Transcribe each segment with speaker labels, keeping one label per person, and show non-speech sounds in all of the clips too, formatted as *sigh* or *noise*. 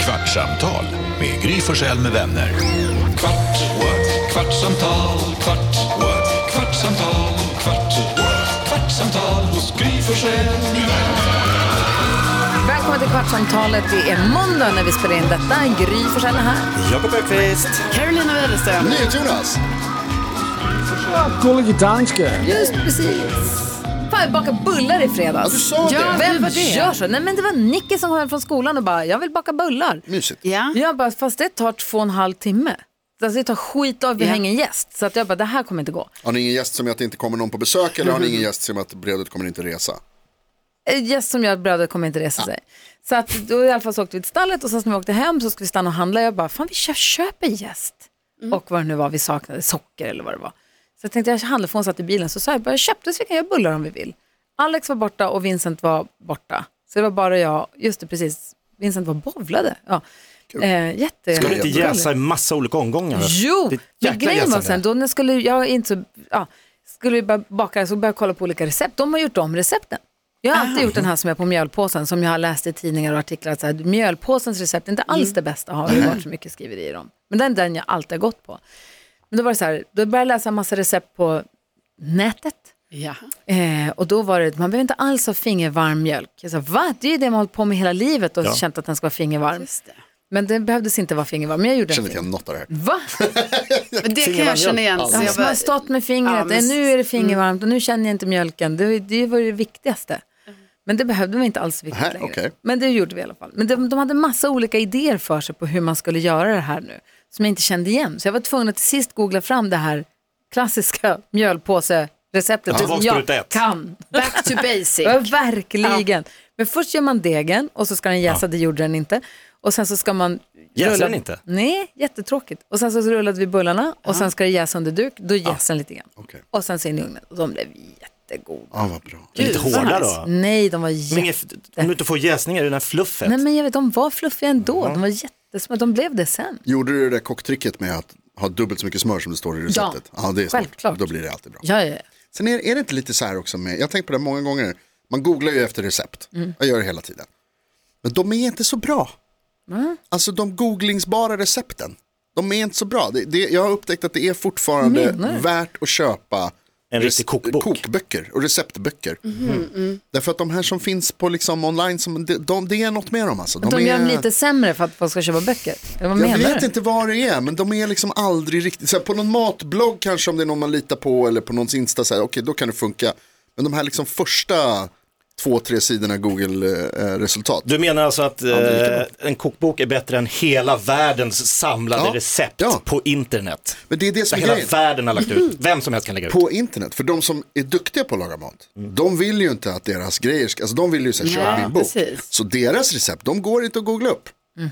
Speaker 1: Kvartsamtal med Gry Forssell med vänner. Kvart, what? kvartsamtal, kvart, what? kvartsamtal, kvart, what? kvartsamtal hos Gry Forssell med vänner.
Speaker 2: Välkommen till Kvartsamtalet. Det är måndag när vi spelar in detta. Gry Forssell är här.
Speaker 3: Jakob Öqvist.
Speaker 4: Carolina Widerström.
Speaker 5: Jonas.
Speaker 6: Gullige danske.
Speaker 2: Just precis. Fan, jag bakade bullar i fredags. Du
Speaker 5: sa
Speaker 4: Ja, det.
Speaker 2: Vem
Speaker 4: du var det.
Speaker 2: gör så? Nej, men det var Nicky som kom hem från skolan och bara, jag vill baka bullar.
Speaker 5: Mysigt.
Speaker 4: Ja.
Speaker 2: Jag bara, fast det tar två och en halv timme. Alltså det tar skit av, vi
Speaker 4: Ja.
Speaker 2: har ingen gäst. Så att jag bara, det här kommer inte gå.
Speaker 5: Har ni ingen gäst som är att det inte kommer någon på besök eller har
Speaker 2: Mm-hmm.
Speaker 5: ni ingen gäst som är att brödet kommer inte resa?
Speaker 2: En gäst Eh, som gör att brödet kommer inte resa sig. Så att då i alla fall så åkte vi till stallet och sen när vi åkte hem så skulle vi stanna och handla. Jag bara, fan vi kö- köper gäst. Och vad det nu var vi saknade, socker eller vad det var. Så jag tänkte, jag handlar för hon satt i bilen. Så sa jag, bara, jag köpte så vi kan göra bullar om vi vill. Alex var borta och Vincent var borta. Så det var bara jag, just det precis, Vincent var bovlade. Ja. Eh, jätte...
Speaker 5: Ska
Speaker 3: Kan du inte
Speaker 2: jätteroligt.
Speaker 3: jäsa i massa olika omgångar?
Speaker 2: Jo,
Speaker 3: Det är ett
Speaker 2: men
Speaker 3: jäkla
Speaker 2: grejen var
Speaker 3: jäsande.
Speaker 2: sen då när jag skulle, jag är inte så, ja, skulle vi bara baka så började jag kolla på olika recept. De har gjort om recepten. Jag har alltid gjort den här som är på mjölpåsen som jag har läst i tidningar och artiklar. att Så här, mjölpåsens recept är inte
Speaker 3: Mm.
Speaker 2: alls det bästa, har det
Speaker 3: *clears throat*
Speaker 2: varit så mycket skriverier om. Men den är den jag alltid har gått på. Men då var det så här, då började jag läsa massa recept på nätet.
Speaker 4: ja.
Speaker 2: Eh, och då var det, man behöver inte alls ha fingervarm mjölk. Jag sa, va? Det är ju det man har hållit på med hela livet och
Speaker 3: Ja.
Speaker 2: känt att den ska vara fingervarm.
Speaker 4: Just det.
Speaker 2: Men den behövdes inte vara fingervarm, men jag gjorde
Speaker 5: Jag känner
Speaker 2: den.
Speaker 5: inte igen något av det här.
Speaker 2: Va?
Speaker 4: Men det kan jag känna igen. Så
Speaker 2: Ja,
Speaker 4: Alltså, jag
Speaker 2: som
Speaker 4: bara,
Speaker 2: har stått med fingret.
Speaker 4: Ja, men- mm.
Speaker 2: Eh, Nu är det fingervarmt och nu känner jag inte mjölken. Det, det var det viktigaste.
Speaker 4: Mm.
Speaker 2: Men det behövde vi inte alls viktigt
Speaker 5: Nej,
Speaker 2: längre.
Speaker 5: okej.
Speaker 2: Men det gjorde vi i alla fall. Men de, de hade massa olika idéer för sig på hur man skulle göra det här nu. Som jag inte kände igen. Så jag var tvungen att till sist googla fram det här klassiska mjölpåse-receptet.
Speaker 3: Ja,
Speaker 2: som
Speaker 3: vad
Speaker 2: jag
Speaker 3: spruta ett.
Speaker 2: kan.
Speaker 4: back to basic.
Speaker 2: Ja, verkligen. Men först gör man degen och så ska den jäsa, det gjorde den inte. Och sen så ska man...
Speaker 3: Jäser
Speaker 2: rulla-
Speaker 3: den inte?
Speaker 2: Nej, jättetråkigt. Och sen så rullade vi bullarna och sen ska det jäsa under duk, då jäser den lite grann.
Speaker 5: Okej.
Speaker 2: Och sen så in i ugnen och de blev jättegoda.
Speaker 5: Ja, Ah, vad bra.
Speaker 3: Det är Lite
Speaker 4: Gud, vad
Speaker 3: hårda
Speaker 4: nice.
Speaker 3: då.
Speaker 2: Nej, de var
Speaker 3: Men
Speaker 2: alltså, jätte...
Speaker 3: inget, om du inte får jäsningar i det här fluffet.
Speaker 2: Nej men jag vet, de var fluffiga ändå. De var jättesmå, de blev det sen.
Speaker 5: Gjorde du det där kocktricket med att ha dubbelt så mycket smör som det står i receptet? Ja, det är smart.
Speaker 2: självklart.
Speaker 5: Då blir det alltid bra.
Speaker 2: Ja, ja, ja.
Speaker 5: Sen är, är det inte lite så här också med, jag har tänkt på det många gånger, man googlar ju efter recept.
Speaker 2: Mm.
Speaker 5: Jag gör det hela tiden. Men de är inte så bra. Alltså de googlingsbara recepten, de är inte så bra. Det, det, jag har upptäckt att det är fortfarande
Speaker 2: Menar du?
Speaker 5: värt att köpa
Speaker 3: En riktig
Speaker 5: rec-
Speaker 3: kokbok.
Speaker 5: kokböcker och receptböcker.
Speaker 2: Mm-hmm.
Speaker 5: Därför att de här som finns på liksom online, som, de, de, det är något med dem alltså.
Speaker 2: De,
Speaker 5: är,
Speaker 2: gör dem lite sämre för att folk ska köpa böcker. Eller Vad
Speaker 5: jag
Speaker 2: menar
Speaker 5: vet
Speaker 2: du?
Speaker 5: inte vad det är, men de är liksom aldrig riktigt, så här, på någon matblogg kanske om det är någon man litar på eller på någons Insta, så här, okej då kan det funka. Men de här liksom första två, tre sidorna eh, Google-resultat.
Speaker 3: Du menar alltså att
Speaker 5: är lika
Speaker 3: eh, en kokbok är bättre än hela världens samlade
Speaker 5: Ja.
Speaker 3: recept
Speaker 5: Ja.
Speaker 3: på internet?
Speaker 5: men det är det
Speaker 3: Där
Speaker 5: som är
Speaker 3: hela
Speaker 5: grejen.
Speaker 3: världen har lagt
Speaker 2: Mm.
Speaker 3: ut. Vem som helst kan lägga ut.
Speaker 5: På internet, för de som är duktiga på att laga mat, de vill ju inte att deras grejer ska, alltså de vill ju så här, köpa
Speaker 4: Nej,
Speaker 5: min bok.
Speaker 4: precis.
Speaker 5: Så deras recept, de går inte att googla upp.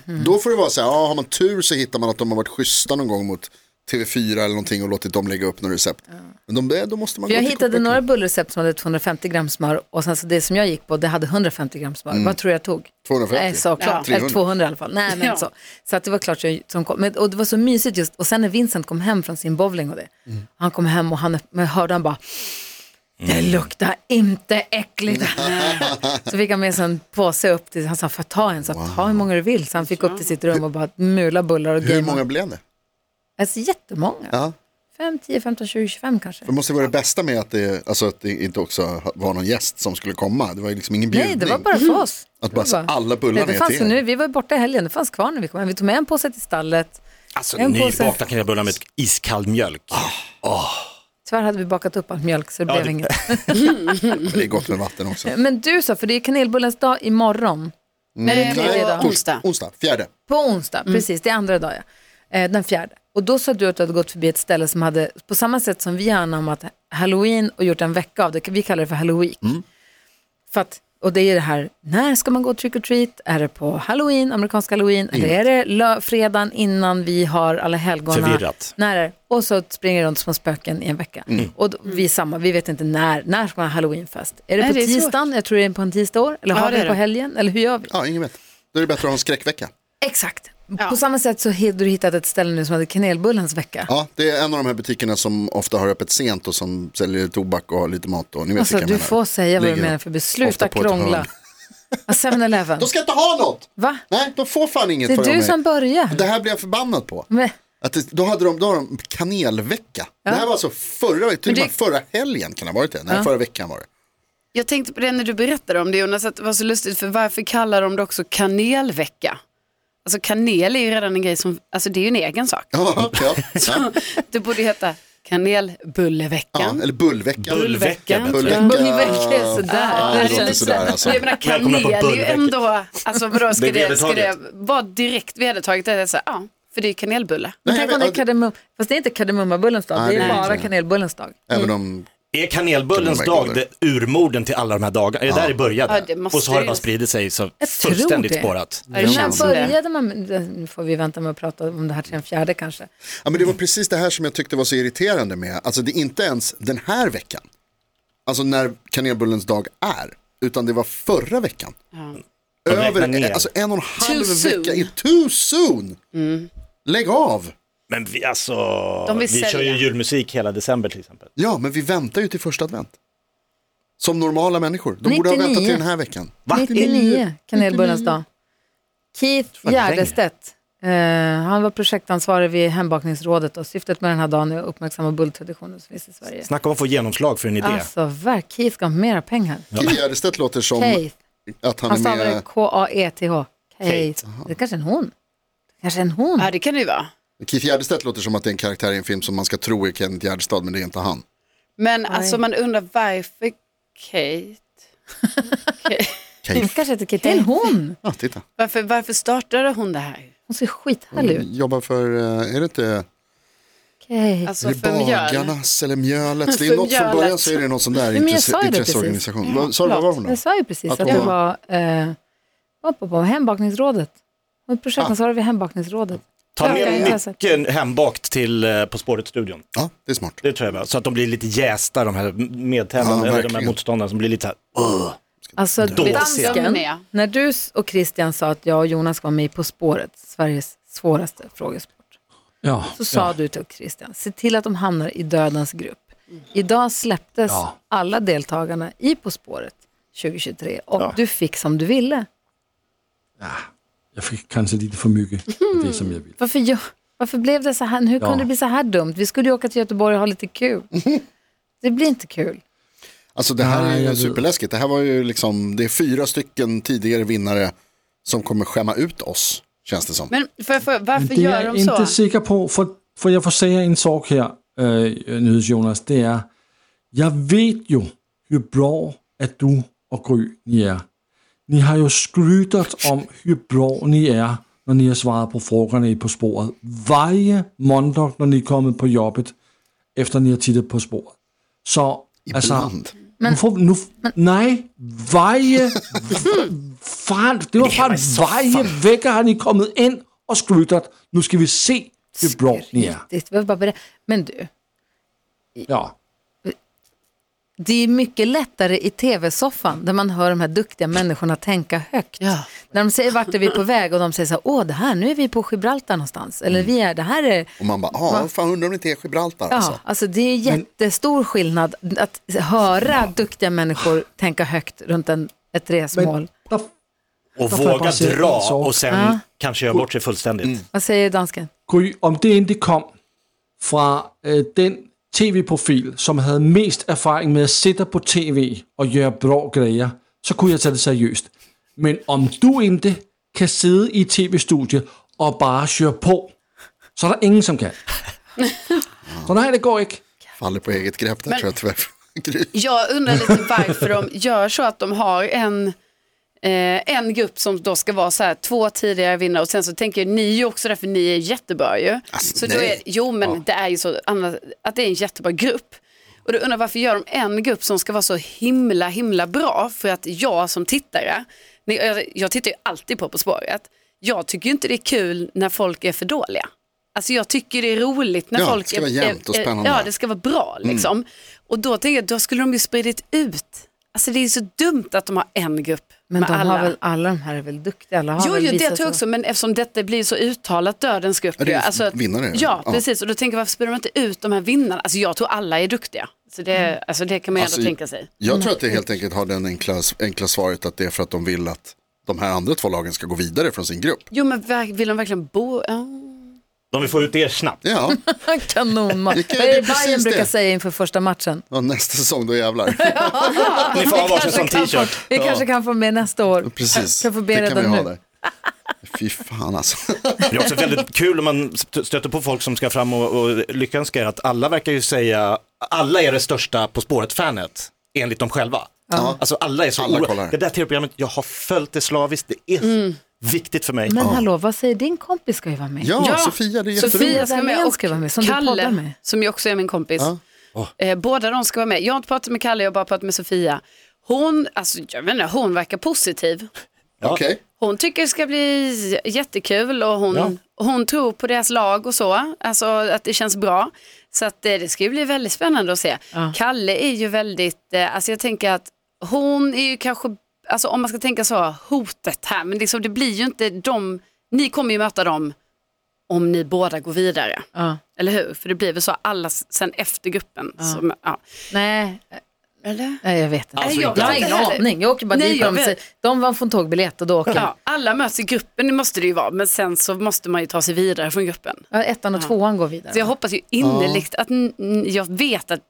Speaker 2: Mhm.
Speaker 5: Då får det vara så här, ja, har man tur så hittar man att de har varit schyssta någon gång mot TV4 eller någonting och låtit dem lägga upp några recept. Men de, där, då måste man
Speaker 2: För
Speaker 5: gå
Speaker 2: jag
Speaker 5: till
Speaker 2: hittade
Speaker 5: kokböckerna.
Speaker 2: några bullrecept som hade 250 gram smör och sen så det som jag gick på det hade 150 gram smör.
Speaker 5: Mm.
Speaker 2: Vad tror jag tog?
Speaker 5: 250?
Speaker 2: Nej, så klart.
Speaker 5: Ja.
Speaker 2: Eller
Speaker 5: 300.
Speaker 2: 200 i alla fall. Nej, men
Speaker 4: Ja.
Speaker 2: så. Så att det var klart jag som kom. Men, och det var så mysigt just. Och sen när Vincent kom hem från sin bowling och det.
Speaker 5: Mm.
Speaker 2: Han kom hem och han, men jag hörde han bara det
Speaker 5: Mm.
Speaker 2: luktar inte äckligt. så fick han med sig en påse upp till, han sa får jag ta en? Så ta hur många du vill. Så han fick upp till sitt rum och bara mula bullar och
Speaker 5: Hur
Speaker 2: gamea.
Speaker 5: många blev det?
Speaker 2: Alltså jättemånga.
Speaker 5: Ja.
Speaker 2: 5, 10, 15, 20, 25 kanske.
Speaker 5: Det måste vara det bästa med att det, alltså att det inte också var någon gäst som skulle komma. Det var ju liksom ingen bjudning. Mm.
Speaker 2: Nej, det var bara för oss.
Speaker 5: Att
Speaker 2: Det var
Speaker 5: bara alla
Speaker 2: Nej,
Speaker 5: bullarna
Speaker 2: det
Speaker 5: är
Speaker 2: fanns,
Speaker 5: till er.
Speaker 2: nu, Vi var ju borta i helgen, det fanns kvar när vi kom hem. Vi tog med en påse till stallet.
Speaker 3: Alltså
Speaker 2: En påse.
Speaker 3: nybakta kan jag börja med ett iskall mjölk.
Speaker 2: Tyvärr hade vi bakat upp allt mjölk så det
Speaker 3: Ja,
Speaker 2: blev
Speaker 3: det-
Speaker 2: inget.
Speaker 5: Men det är gott med vatten också.
Speaker 2: *laughs* Men du sa, för det är kanelbullens dag imorgon.
Speaker 4: Nej, det är
Speaker 5: Nej,
Speaker 4: det då. Onsdag.
Speaker 5: Onsdag, fjärde.
Speaker 2: På onsdag,
Speaker 4: Mm.
Speaker 2: precis, det är andra dagen. Eh, den fjärde. Och då sa du att du hade gått förbi ett ställe som hade, på samma sätt som vi har anammat halloween och gjort en vecka av det, vi kallar det för halloween.
Speaker 4: Mm.
Speaker 2: För att, och det är det här, när ska man gå trick or treat? Är det på halloween, amerikansk halloween? Eller är det lö- fredagen innan vi har alla helgona?
Speaker 3: Förvirrat.
Speaker 2: När är det? Och så springer runt små spöken i en vecka.
Speaker 4: Mm.
Speaker 2: Och då, vi är samma, vi vet inte när, när ska man ha halloweenfest? Är det
Speaker 4: Nej,
Speaker 2: på
Speaker 4: det är svårt.
Speaker 2: tisdagen? Jag tror det är på en tisdag i år. Eller
Speaker 4: Ja,
Speaker 2: har vi
Speaker 4: det är
Speaker 2: det på
Speaker 4: det.
Speaker 2: helgen? Eller hur gör vi?
Speaker 5: Ja, ingen vet. Då är det bättre att ha en skräckvecka.
Speaker 2: Exakt.
Speaker 4: Ja.
Speaker 2: På samma sätt så hade du hittat ett ställe nu som hade kanelbullens vecka.
Speaker 5: Ja, det är en av de här butikerna som ofta har öppet sent och som säljer tobak och har lite mat. Och, ni vet
Speaker 2: alltså
Speaker 5: vilka jag
Speaker 2: du
Speaker 5: menar.
Speaker 2: får säga vad du
Speaker 5: Ligger
Speaker 2: menar för beslut.
Speaker 5: ofta
Speaker 2: Sluta
Speaker 5: på ett
Speaker 2: krångla.
Speaker 5: hörn.
Speaker 2: Ja, 7-Eleven.
Speaker 5: De ska inte ha något!
Speaker 2: Va?
Speaker 5: Nej, de får fan inget
Speaker 2: Det är
Speaker 5: för
Speaker 2: du
Speaker 5: mig.
Speaker 2: som börjar.
Speaker 5: Det här blev jag förbannad på.
Speaker 2: Men,
Speaker 5: Att det, då hade de, då hade de kanelvecka. Det här var alltså förra, till och med förra helgen kan det ha varit det. Nej, förra veckan var det.
Speaker 4: Jag tänkte på det när du berättade om det Jonas, att det var så lustigt för varför kallar de det också kanelvecka? Alltså kanel är ju redan en grej som, alltså det är ju en egen sak. *laughs*
Speaker 5: Ja, ja, ja,
Speaker 4: Det borde heta kanelbulleveckan.
Speaker 5: ja. Eller bullveckan.
Speaker 3: Bullveckan.
Speaker 4: Bullveckan.
Speaker 5: Bullvecka.
Speaker 2: Bullevecka är sådär.
Speaker 5: Ja,
Speaker 2: Det
Speaker 5: det
Speaker 2: känns-
Speaker 5: låter sådär alltså.
Speaker 4: Jag menar
Speaker 3: Välkomna
Speaker 4: kanel
Speaker 3: på
Speaker 4: är ju
Speaker 3: bullveckan.
Speaker 4: ändå, alltså vadå, ska
Speaker 3: Det är
Speaker 4: det, ska det
Speaker 3: vedertaget.
Speaker 4: vara direkt vedertaget? Det är så här, ja, för det är ju kanelbulle.
Speaker 5: Nej,
Speaker 2: Tänk
Speaker 5: jag
Speaker 2: om det är
Speaker 5: vet-
Speaker 2: kardemum... Fast det är inte kardemummabullens dag, det är
Speaker 5: Nej,
Speaker 2: bara
Speaker 5: nej.
Speaker 2: kanelbullens dag.
Speaker 5: Även om,
Speaker 3: Är
Speaker 5: Oh
Speaker 3: kanelbullens dag det urmorden till alla de här dagarna? Är det där det började?
Speaker 4: Ja, det måste
Speaker 3: och så har det
Speaker 4: ju-
Speaker 3: bara spridit sig så
Speaker 2: Jag tror
Speaker 3: fullständigt
Speaker 2: det.
Speaker 3: spårat.
Speaker 4: Ja, det känns
Speaker 2: När
Speaker 4: som det.
Speaker 2: började man, nu får vi vänta med att prata om det här till den fjärde kanske.
Speaker 5: ja, men det var precis det här som jag tyckte var så irriterande med, alltså det är inte ens den här veckan. Alltså när kanelbullens dag är, utan det var förra veckan.
Speaker 3: De räknar
Speaker 5: Över,
Speaker 3: ner.
Speaker 5: alltså en och en halv
Speaker 4: Too soon.
Speaker 5: vecka, i- too soon! Lägg av!
Speaker 3: Men vi, alltså,
Speaker 4: De
Speaker 3: vi
Speaker 4: vill sälja.
Speaker 3: kör ju julmusik hela december till exempel.
Speaker 5: Ja, men vi väntar ju till första advent. Som normala människor. De borde ha
Speaker 2: 99.
Speaker 5: väntat till den här veckan.
Speaker 2: 99, kanelbullens dag. Keith
Speaker 3: var det längre.
Speaker 2: Gärdestedt, eh, han var projektansvarig vid hembakningsrådet och syftet med den här dagen är att uppmärksamma bulltraditionen som finns i Sverige.
Speaker 3: Snacka om att få genomslag
Speaker 5: E
Speaker 3: för en idé.
Speaker 2: Alltså verkligen, Keith ska ha mera pengar.
Speaker 5: Kit Gärdestedt låter som
Speaker 2: Keith,
Speaker 5: att han,
Speaker 2: han
Speaker 5: är
Speaker 2: stavar
Speaker 5: med,
Speaker 2: det K-A-E-T-H. E Keith, det kanske är en hon. Det kanske är en hon.
Speaker 4: Ja, det kan det ju vara.
Speaker 5: Keith Gärdestedt låter som att det är en karaktär i en film som man ska tro är Kent Gärdestad, men det är inte han.
Speaker 4: Men alltså man undrar varför Kate,
Speaker 2: Det
Speaker 5: Keith,
Speaker 2: kanske heter Keith, det är en hon.
Speaker 5: ja, titta.
Speaker 4: varför, varför startade hon det här?
Speaker 2: Hon ser skithärlig ut.
Speaker 5: Jobbar för, eh, är det inte,
Speaker 2: Keith.
Speaker 4: Alltså
Speaker 5: är det
Speaker 4: för mjöl.
Speaker 5: Bagarnas eller Mjölets? Det är
Speaker 4: För
Speaker 5: något från
Speaker 4: mjölet.
Speaker 5: början så är det någon sån där
Speaker 2: Nej, men jag sa ju
Speaker 5: intresse,
Speaker 2: det
Speaker 5: intresseorganisation. Vad sa du, vad var hon då?
Speaker 2: Jag sa ju precis att,
Speaker 5: Att hon
Speaker 2: det var
Speaker 5: var-
Speaker 2: eh, upp, upp, upp, hembakningsrådet. Hon är
Speaker 5: Ah.
Speaker 2: projektansvarig vid hembakningsrådet.
Speaker 3: Ta
Speaker 2: Öka
Speaker 3: med
Speaker 2: intresset.
Speaker 3: mycket hembakt till eh, På spåret-studion.
Speaker 5: Ja, det är smart.
Speaker 3: Det tror jag, va? så att de blir lite jästa de här medtävlande,
Speaker 5: Ja,
Speaker 3: eller de här
Speaker 5: verkligen.
Speaker 3: motståndarna som blir lite så här,
Speaker 2: Alltså
Speaker 3: Då
Speaker 4: ser
Speaker 2: dansken,
Speaker 4: jag.
Speaker 2: när du s- och Christian sa att jag och Jonas var med i På spåret, Sveriges svåraste frågesport,
Speaker 6: Ja,
Speaker 2: så sa du till Christian, se till att de hamnar i dödens grupp. Idag släpptes alla deltagarna i På spåret 2023 och du fick som du ville.
Speaker 6: jag fick kanske lite för mycket av det som jag ville.
Speaker 2: Varför, jag, varför blev det så här? Hur kunde det bli så här dumt? Vi skulle ju åka till Göteborg och ha lite kul. Det blir inte kul.
Speaker 5: Alltså det här
Speaker 6: Nej,
Speaker 5: är
Speaker 6: jag
Speaker 5: ju
Speaker 6: vet.
Speaker 5: superläskigt. Det här var ju liksom, det är fyra stycken tidigare vinnare som kommer skämma ut oss, känns det som.
Speaker 4: Men för, jag fråga, varför
Speaker 6: Det er
Speaker 4: gör
Speaker 6: jeg
Speaker 4: de så?
Speaker 6: ikke sikker på, for, for jeg forsager en sorg her, øh, Nydes Jonas, det er, jeg ved jo, hvor bra at du og Gry ni er. Ni har jo skrytet om, hvor bra ni er, når ni har svaret på frågerne i på sporet. Hver måndag, når ni er kommet på jobbet, efter ni har tittet på sporet. Så,
Speaker 5: Ibland.
Speaker 6: Men, nu får, nu, nej,
Speaker 4: *laughs*
Speaker 6: varje... fan, det var fan varje vecka har ni kommit in och skrytat. Nu ska vi se hur bra ni är.
Speaker 2: Riktigt. Vi var bara beredd- Men du,
Speaker 6: Ja.
Speaker 2: det är mycket lättare i tv-soffan där man hör de här duktiga människorna tänka högt.
Speaker 4: Ja.
Speaker 2: När de säger vart är vi på väg och de säger så här, åh det här, nu är vi på Gibraltar någonstans. Eller vi är, det här är,
Speaker 5: Och man bara, ja, fan undrar om det inte är Gibraltar
Speaker 2: ja,
Speaker 5: alltså.
Speaker 2: alltså det är jättestor skillnad att höra duktiga människor tänka högt runt en, ett resmål.
Speaker 6: Der,
Speaker 3: och
Speaker 6: får jag
Speaker 3: våga
Speaker 6: bara säga en
Speaker 3: dra
Speaker 6: sak?
Speaker 3: och sen kanske göra bort sig fullständigt.
Speaker 2: Vad säger dansken?
Speaker 6: Gry, om det inte kom fra øh, den tv-profil, som havde mest erfaring med at sidde på tv og gøre bra grejer, så kunne jeg tage det seriøst. Men om du ikke kan sidde i tv-studiet og bare køre på, så er der ingen, som kan. Så nej, det går ikke.
Speaker 5: Faller på eget grepp där tror jag tyvärr. *laughs* Gry.
Speaker 4: Jag undrar lite varför de gör så att de har en, eh, en grupp som då ska vara så här, två tidigare vinnare och sen så tänker jag, ni är ju också där för ni är jättebra ju.
Speaker 5: Alltså,
Speaker 4: så då är,
Speaker 5: nej.
Speaker 4: jo men det är ju så annars- att det är en jättebra grupp. Och då undrar jag, varför gör de en grupp som ska vara så himla himla bra för att jag som tittare, ni- jag, jag tittar ju alltid på På spåret, jag tycker ju inte det är kul när folk är för dåliga. Alltså jag tycker det är roligt när
Speaker 5: Ja, det
Speaker 4: folk
Speaker 5: ska vara jämnt och
Speaker 4: är,
Speaker 5: spännande.
Speaker 4: Ja, det ska vara bra liksom. Och då tänker jag, då skulle de ju spridit ut. Alltså det är så dumt att de har en grupp
Speaker 2: Men
Speaker 4: med
Speaker 2: de
Speaker 4: alla.
Speaker 2: har väl, alla de här är väl duktiga? Alla har
Speaker 4: Jo,
Speaker 2: väl
Speaker 4: jo det
Speaker 2: visat
Speaker 4: tror jag
Speaker 2: sig-
Speaker 4: också, men eftersom detta blir så uttalat dödens grupp.
Speaker 5: Ja, det är
Speaker 4: ju. alltså
Speaker 5: ju
Speaker 4: att-
Speaker 5: vinnare,
Speaker 4: Ja,
Speaker 5: ja.
Speaker 4: precis. Och då tänker jag, varför spelar de inte ut de här vinnarna? Alltså jag tror alla är duktiga. Så det,
Speaker 2: Mm.
Speaker 4: alltså, det kan man ju
Speaker 5: Alltså,
Speaker 4: ändå tänka sig.
Speaker 5: Jag tror att det helt enkelt har den enkla, enkla svaret att det är för att de vill att de här andra två lagen ska gå vidare från sin grupp.
Speaker 4: Jo, men ver- vill de verkligen bo? Ja.
Speaker 3: De vill få ut er snabbt.
Speaker 5: Ja,
Speaker 2: *laughs* Kanonmatch.
Speaker 5: Vilken-
Speaker 2: Vad är det
Speaker 5: precis
Speaker 2: Bayern brukar
Speaker 5: det.
Speaker 2: säga inför första matchen?
Speaker 5: och nästa säsong då jävlar.
Speaker 3: Ni får ha varsin sån
Speaker 2: kan få,
Speaker 3: t-shirt.
Speaker 2: vi
Speaker 3: Ja.
Speaker 2: kanske kan få med nästa år.
Speaker 5: Precis,
Speaker 2: Kan få be
Speaker 5: det kan vi
Speaker 2: redan nu.
Speaker 5: ha där. Fy
Speaker 4: *laughs*
Speaker 5: fan alltså.
Speaker 3: Det är också väldigt kul om man st- stöter på folk som ska fram och, och lyckönska att alla verkar ju säga, alla är det största På spåret-fanet, enligt dem själva. Alltså alla är så
Speaker 5: Alla
Speaker 3: oro-
Speaker 5: kollar.
Speaker 3: Det där tv-programmet, jag har följt det slaviskt, det är
Speaker 4: Mm.
Speaker 3: viktigt för mig.
Speaker 2: Men hallå, vad säger din kompis ska ju vara med?
Speaker 5: Ja, Sofia, det är jätteroligt.
Speaker 4: Sofia ska vara med
Speaker 2: Dahlen
Speaker 4: och
Speaker 2: ska vara med, som du poddar
Speaker 4: Kalle,
Speaker 2: med.
Speaker 4: som ju också är min kompis.
Speaker 5: Ja.
Speaker 4: Eh, båda de ska vara med. Jag har inte pratat med Kalle, jag har bara pratat med Sofia. Hon, alltså, jag vet inte, hon verkar positiv.
Speaker 5: Okej,
Speaker 4: Hon tycker det ska bli jättekul och hon,
Speaker 3: Ja.
Speaker 4: hon tror på deras lag och så, alltså att det känns bra. Så att eh, det ska ju bli väldigt spännande att se. Kalle är ju väldigt, eh, alltså jag tänker att hon är ju kanske, alltså om man ska tänka så, hotet här, men liksom det blir ju inte de, ni kommer ju möta dem om ni båda går vidare.
Speaker 2: Ja.
Speaker 4: Eller hur? För det blir väl så alla s- sen efter gruppen. Som, ja.
Speaker 2: Nej,
Speaker 4: Eller?
Speaker 2: nej, jag vet inte.
Speaker 3: Alltså,
Speaker 2: jag
Speaker 3: inte
Speaker 2: har
Speaker 3: alls.
Speaker 2: ingen
Speaker 4: heller.
Speaker 2: aning. Jag åker bara
Speaker 4: Nej,
Speaker 2: dit
Speaker 4: jag
Speaker 2: och de
Speaker 4: vet.
Speaker 2: säger, de vann från tågbiljett och då åker jag.
Speaker 4: Ja, alla möts i gruppen, det måste det ju vara, men sen så måste man ju ta sig vidare från gruppen.
Speaker 2: Ja, ettan och tvåan går vidare.
Speaker 4: Så jag
Speaker 2: va?
Speaker 4: hoppas ju innerligt att n- n- jag vet att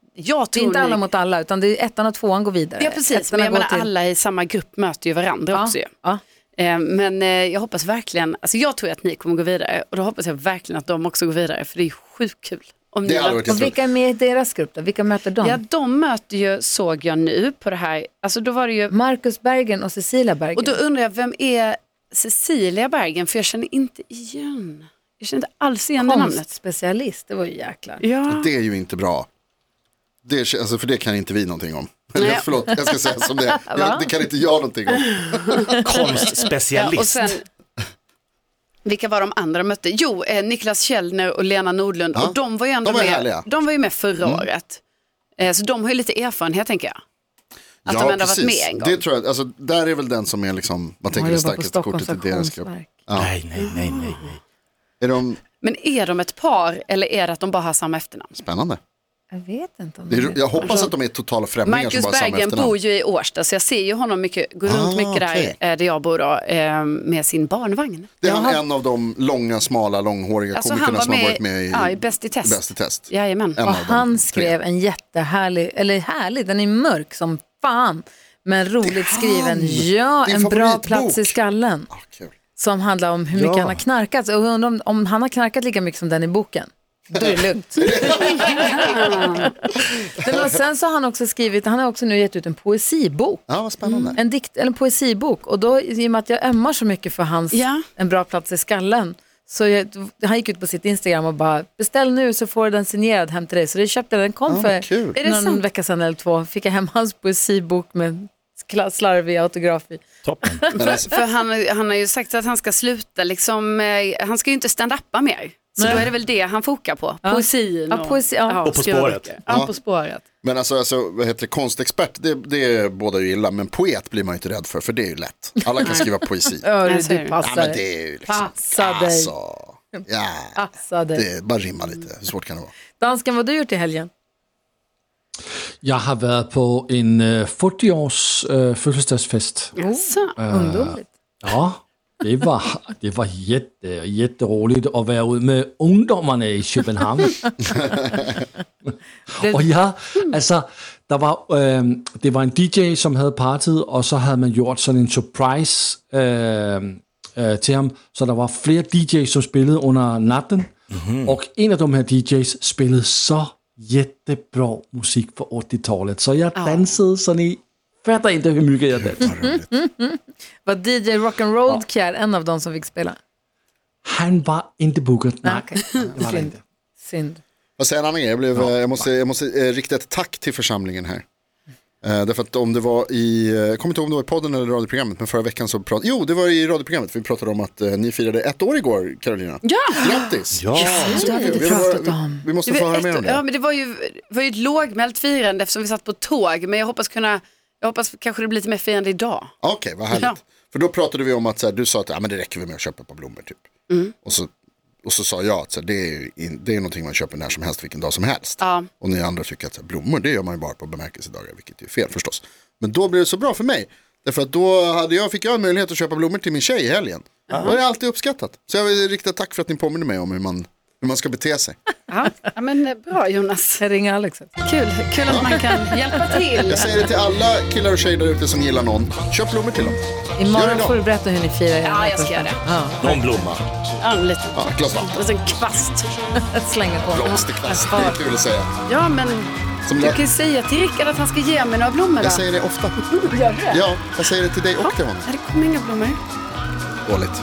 Speaker 2: Det
Speaker 4: jag tror
Speaker 2: är inte alla
Speaker 4: ni-
Speaker 2: mot alla, utan det är ettan och tvåan går vidare.
Speaker 4: Ja precis,
Speaker 2: Ettorna
Speaker 4: men jag
Speaker 2: går
Speaker 4: menar
Speaker 2: till-
Speaker 4: alla i samma grupp möter ju varandra också ju.
Speaker 2: Ja.
Speaker 4: Eh, Men eh, jag hoppas verkligen, alltså jag tror att ni kommer gå vidare och då hoppas jag verkligen att de också går vidare för det är sjukt kul. Om ni
Speaker 5: det hade
Speaker 4: möter-
Speaker 5: varit
Speaker 2: Och
Speaker 5: jätteroligt.
Speaker 2: vilka är med i deras grupp då? Vilka möter de?
Speaker 4: Ja, de möter ju, såg jag nu på det här, alltså då var det ju,
Speaker 2: Marcus Bergen och Cecilia Bergen.
Speaker 4: och då undrar jag vem är Cecilia Bergen för jag känner inte igen, jag känner inte alls igen det namnet.
Speaker 2: Konstspecialist, det var ju jäklar.
Speaker 4: Ja.
Speaker 5: det är ju inte bra. Det, är- alltså, för det kan inte vi någonting om. Eller,
Speaker 4: Nej.
Speaker 5: förlåt, jag ska säga som det
Speaker 4: *laughs*
Speaker 5: är. Jag, Det kan inte jag någonting om.
Speaker 3: *laughs* Konstspecialist.
Speaker 4: Ja, och sen, vilka var de andra de mötte? Jo, eh, Niklas Källner och Lena Nordlund.
Speaker 5: Ja,
Speaker 4: Och de var ju ändå
Speaker 5: de var ju
Speaker 4: med,
Speaker 5: härliga. Mm.
Speaker 4: de var ju med förra året. Eh, så de har ju lite erfarenhet tänker jag. Att de ändå varit med en gång.
Speaker 5: Det tror jag, alltså, där är väl den som är liksom, man
Speaker 2: De
Speaker 5: tänker det
Speaker 2: jobbar på
Speaker 5: starkaste
Speaker 2: Stockholms
Speaker 5: kortet i deras grupp.
Speaker 2: auktionsverk.
Speaker 3: Nej, nej, nej, nej. nej.
Speaker 5: Är de
Speaker 4: Men är de ett par eller är det att de bara har samma efternamn?
Speaker 5: spännande?
Speaker 2: Jag vet inte om
Speaker 5: Det
Speaker 2: de
Speaker 5: är, jag hoppas att de är totala främlingar som
Speaker 4: Marcus
Speaker 5: bara har samma
Speaker 4: Bergen bor
Speaker 5: efternamn.
Speaker 4: ju i Årsta så jag ser ju honom mycket, går runt
Speaker 5: Ah,
Speaker 4: mycket
Speaker 5: okej.
Speaker 4: där, eh, där jag bor då, eh, med sin barnvagn.
Speaker 5: Det är han en av de långa, smala, långhåriga
Speaker 4: Alltså, han
Speaker 5: komikerna
Speaker 4: var
Speaker 5: som har
Speaker 4: med-
Speaker 5: varit med i,
Speaker 4: ja, i Bäst i test.
Speaker 5: Bäst i test.
Speaker 4: Jajamän.
Speaker 5: En
Speaker 2: Och
Speaker 5: av de
Speaker 2: han
Speaker 5: tre.
Speaker 2: skrev en jättehärlig, eller härlig, den är mörk som fan, men roligt skriven. Ja,
Speaker 5: Din
Speaker 2: en bra
Speaker 5: favoritbok.
Speaker 2: plats i skallen
Speaker 5: Ah, kul.
Speaker 2: som handlar om hur mycket han har knarkat. Och jag undrar om, om han har knarkat lika mycket som den i boken. Då är det
Speaker 5: *laughs*
Speaker 2: lugnt. Nej, men och sen så har han också skrivit, han har också nu gett ut en poesibok.
Speaker 5: Ja,
Speaker 4: *laughs*
Speaker 5: vad spännande.
Speaker 2: En, dikt, eller en poesibok och då i och med att jag ömmar så mycket för hans
Speaker 4: Ja.
Speaker 2: En bra plats i skallen så jag, han gick ut på sitt Instagram och bara beställ nu så får du den signerad hem till dig. Så det köpte jag, den kom
Speaker 5: Ja, vad kul.
Speaker 2: för
Speaker 4: Är det
Speaker 2: någon
Speaker 4: sant?
Speaker 2: vecka sedan eller två. Fick jag hem hans poesibok med skla- slarvig autograf i.
Speaker 3: Toppen.
Speaker 5: alltså-
Speaker 4: För, för han, han har ju sagt att han ska sluta, liksom, eh, han ska ju inte stand-uppa mer. Så då är det väl det han fokar på, poesin
Speaker 2: Ja, poesi, ja.
Speaker 3: Och På
Speaker 4: skriva
Speaker 3: spåret.
Speaker 4: böcker.
Speaker 2: Han på spåret.
Speaker 5: Men alltså, alltså vad heter det, konstexpert, det, det är båda ju illa, men poet blir man ju inte rädd för, för det är ju lätt. Alla kan
Speaker 2: *laughs*
Speaker 5: skriva poesi. Ja,
Speaker 2: Hörru,
Speaker 4: Jag ser
Speaker 2: du
Speaker 4: det.
Speaker 2: passar
Speaker 5: men
Speaker 2: dig.
Speaker 5: det är ju liksom,
Speaker 2: Passa dig.
Speaker 5: alltså, ja,
Speaker 2: Passa dig.
Speaker 5: det är bara rimma lite, hur svårt kan det vara?
Speaker 2: Dansken, vad har du gjort i helgen?
Speaker 6: Jeg har været på en øh, 40 års øh, fødselsdagsfest.
Speaker 4: Så.
Speaker 2: Ungdomligt.
Speaker 6: Ja, det var, det var jätte, jätteroligt att vara ute med ungdomarna i Köpenhamn. och jag, alltså, der var, øhm, det var en DJ, som havde partiet, og så havde man gjort sådan en surprise øhm, øh, til ham. Så der var flere DJ's, som spillede under natten. Och en av de här DJ's spillede så jättebra musik fra 80-talet. Så jeg dansede sådan i, fatter inte hur mycket jeg dansede.
Speaker 2: Var DJ Rock'n'Roll Kjær en av de som fick spela?
Speaker 6: Han var inte bookad, nej.
Speaker 2: Okej. Synd. Synd.
Speaker 5: Vad säger en annan grej, jag, blev, eh, jag måste, jag måste eh, rikta ett tack till församlingen här. Eh, därför att om det var i, eh, jag kommer inte ihåg om det var i podden eller radioprogrammet, men förra veckan så pratade, jo det var i radioprogrammet, för vi pratade om att eh, ni firade ett år igår, Carolina. Ja! Grattis!
Speaker 3: Ja.
Speaker 2: Det har vi inte
Speaker 5: Vi, var,
Speaker 2: pratat
Speaker 5: vi,
Speaker 2: om.
Speaker 5: vi måste
Speaker 4: Det
Speaker 5: få
Speaker 4: var
Speaker 5: höra
Speaker 4: ett-
Speaker 5: mer om det.
Speaker 4: Ja, men det var ju, det var ju ett lågmält firande eftersom vi satt på tåg, men jag hoppas kunna jag Jag hoppas kanske det blir lite mer firande idag.
Speaker 5: Okej, vad härligt.
Speaker 4: Ja.
Speaker 5: För då pratade vi om att så här, du sa att ja, men det räcker väl med att köpa ett par blommor typ.
Speaker 2: Mm.
Speaker 5: Och, så, och så sa jag att så här, det, är ju in, det är någonting man köper när som helst, vilken dag som helst.
Speaker 4: Ja.
Speaker 5: Och ni andra tycker att så här, blommor det gör man ju bara på bemärkelsedagar, vilket är fel förstås. Men då blev det så bra för mig. Därför att då hade jag, fick jag en möjlighet att köpa blommor till min tjej i helgen. Det har jag alltid uppskattat. Så jag vill rikta ett tack för att ni påminner mig om hur man, hur man ska bete sig.
Speaker 4: Ja, ja men eh, bra Jonas.
Speaker 2: Jag ringer Alex. alltså.
Speaker 4: Kul, kul att man kan hjälpa till.
Speaker 5: Jag säger det till alla killar och tjejer där ute som gillar någon. Köp blommor till dem. Gör det
Speaker 2: Imorgon
Speaker 5: då.
Speaker 2: får du berätta hur ni firar.
Speaker 4: Ja, jag ska göra det.
Speaker 3: Någon blomma.
Speaker 4: Ja, en liten,
Speaker 5: Ja, ett glas vatten.
Speaker 4: en liten kvast.
Speaker 2: Att slänga på.
Speaker 5: Blomsterkvast, det är kul att säga.
Speaker 4: Ja, men
Speaker 5: Som
Speaker 4: du
Speaker 5: lä-
Speaker 4: kan ju säga till Rickard att han ska ge mig några blommor. då.
Speaker 5: Jag säger det ofta. Ja, jag säger det till dig och till honom.
Speaker 4: Ja, det kommer inga blommor.
Speaker 5: Dåligt.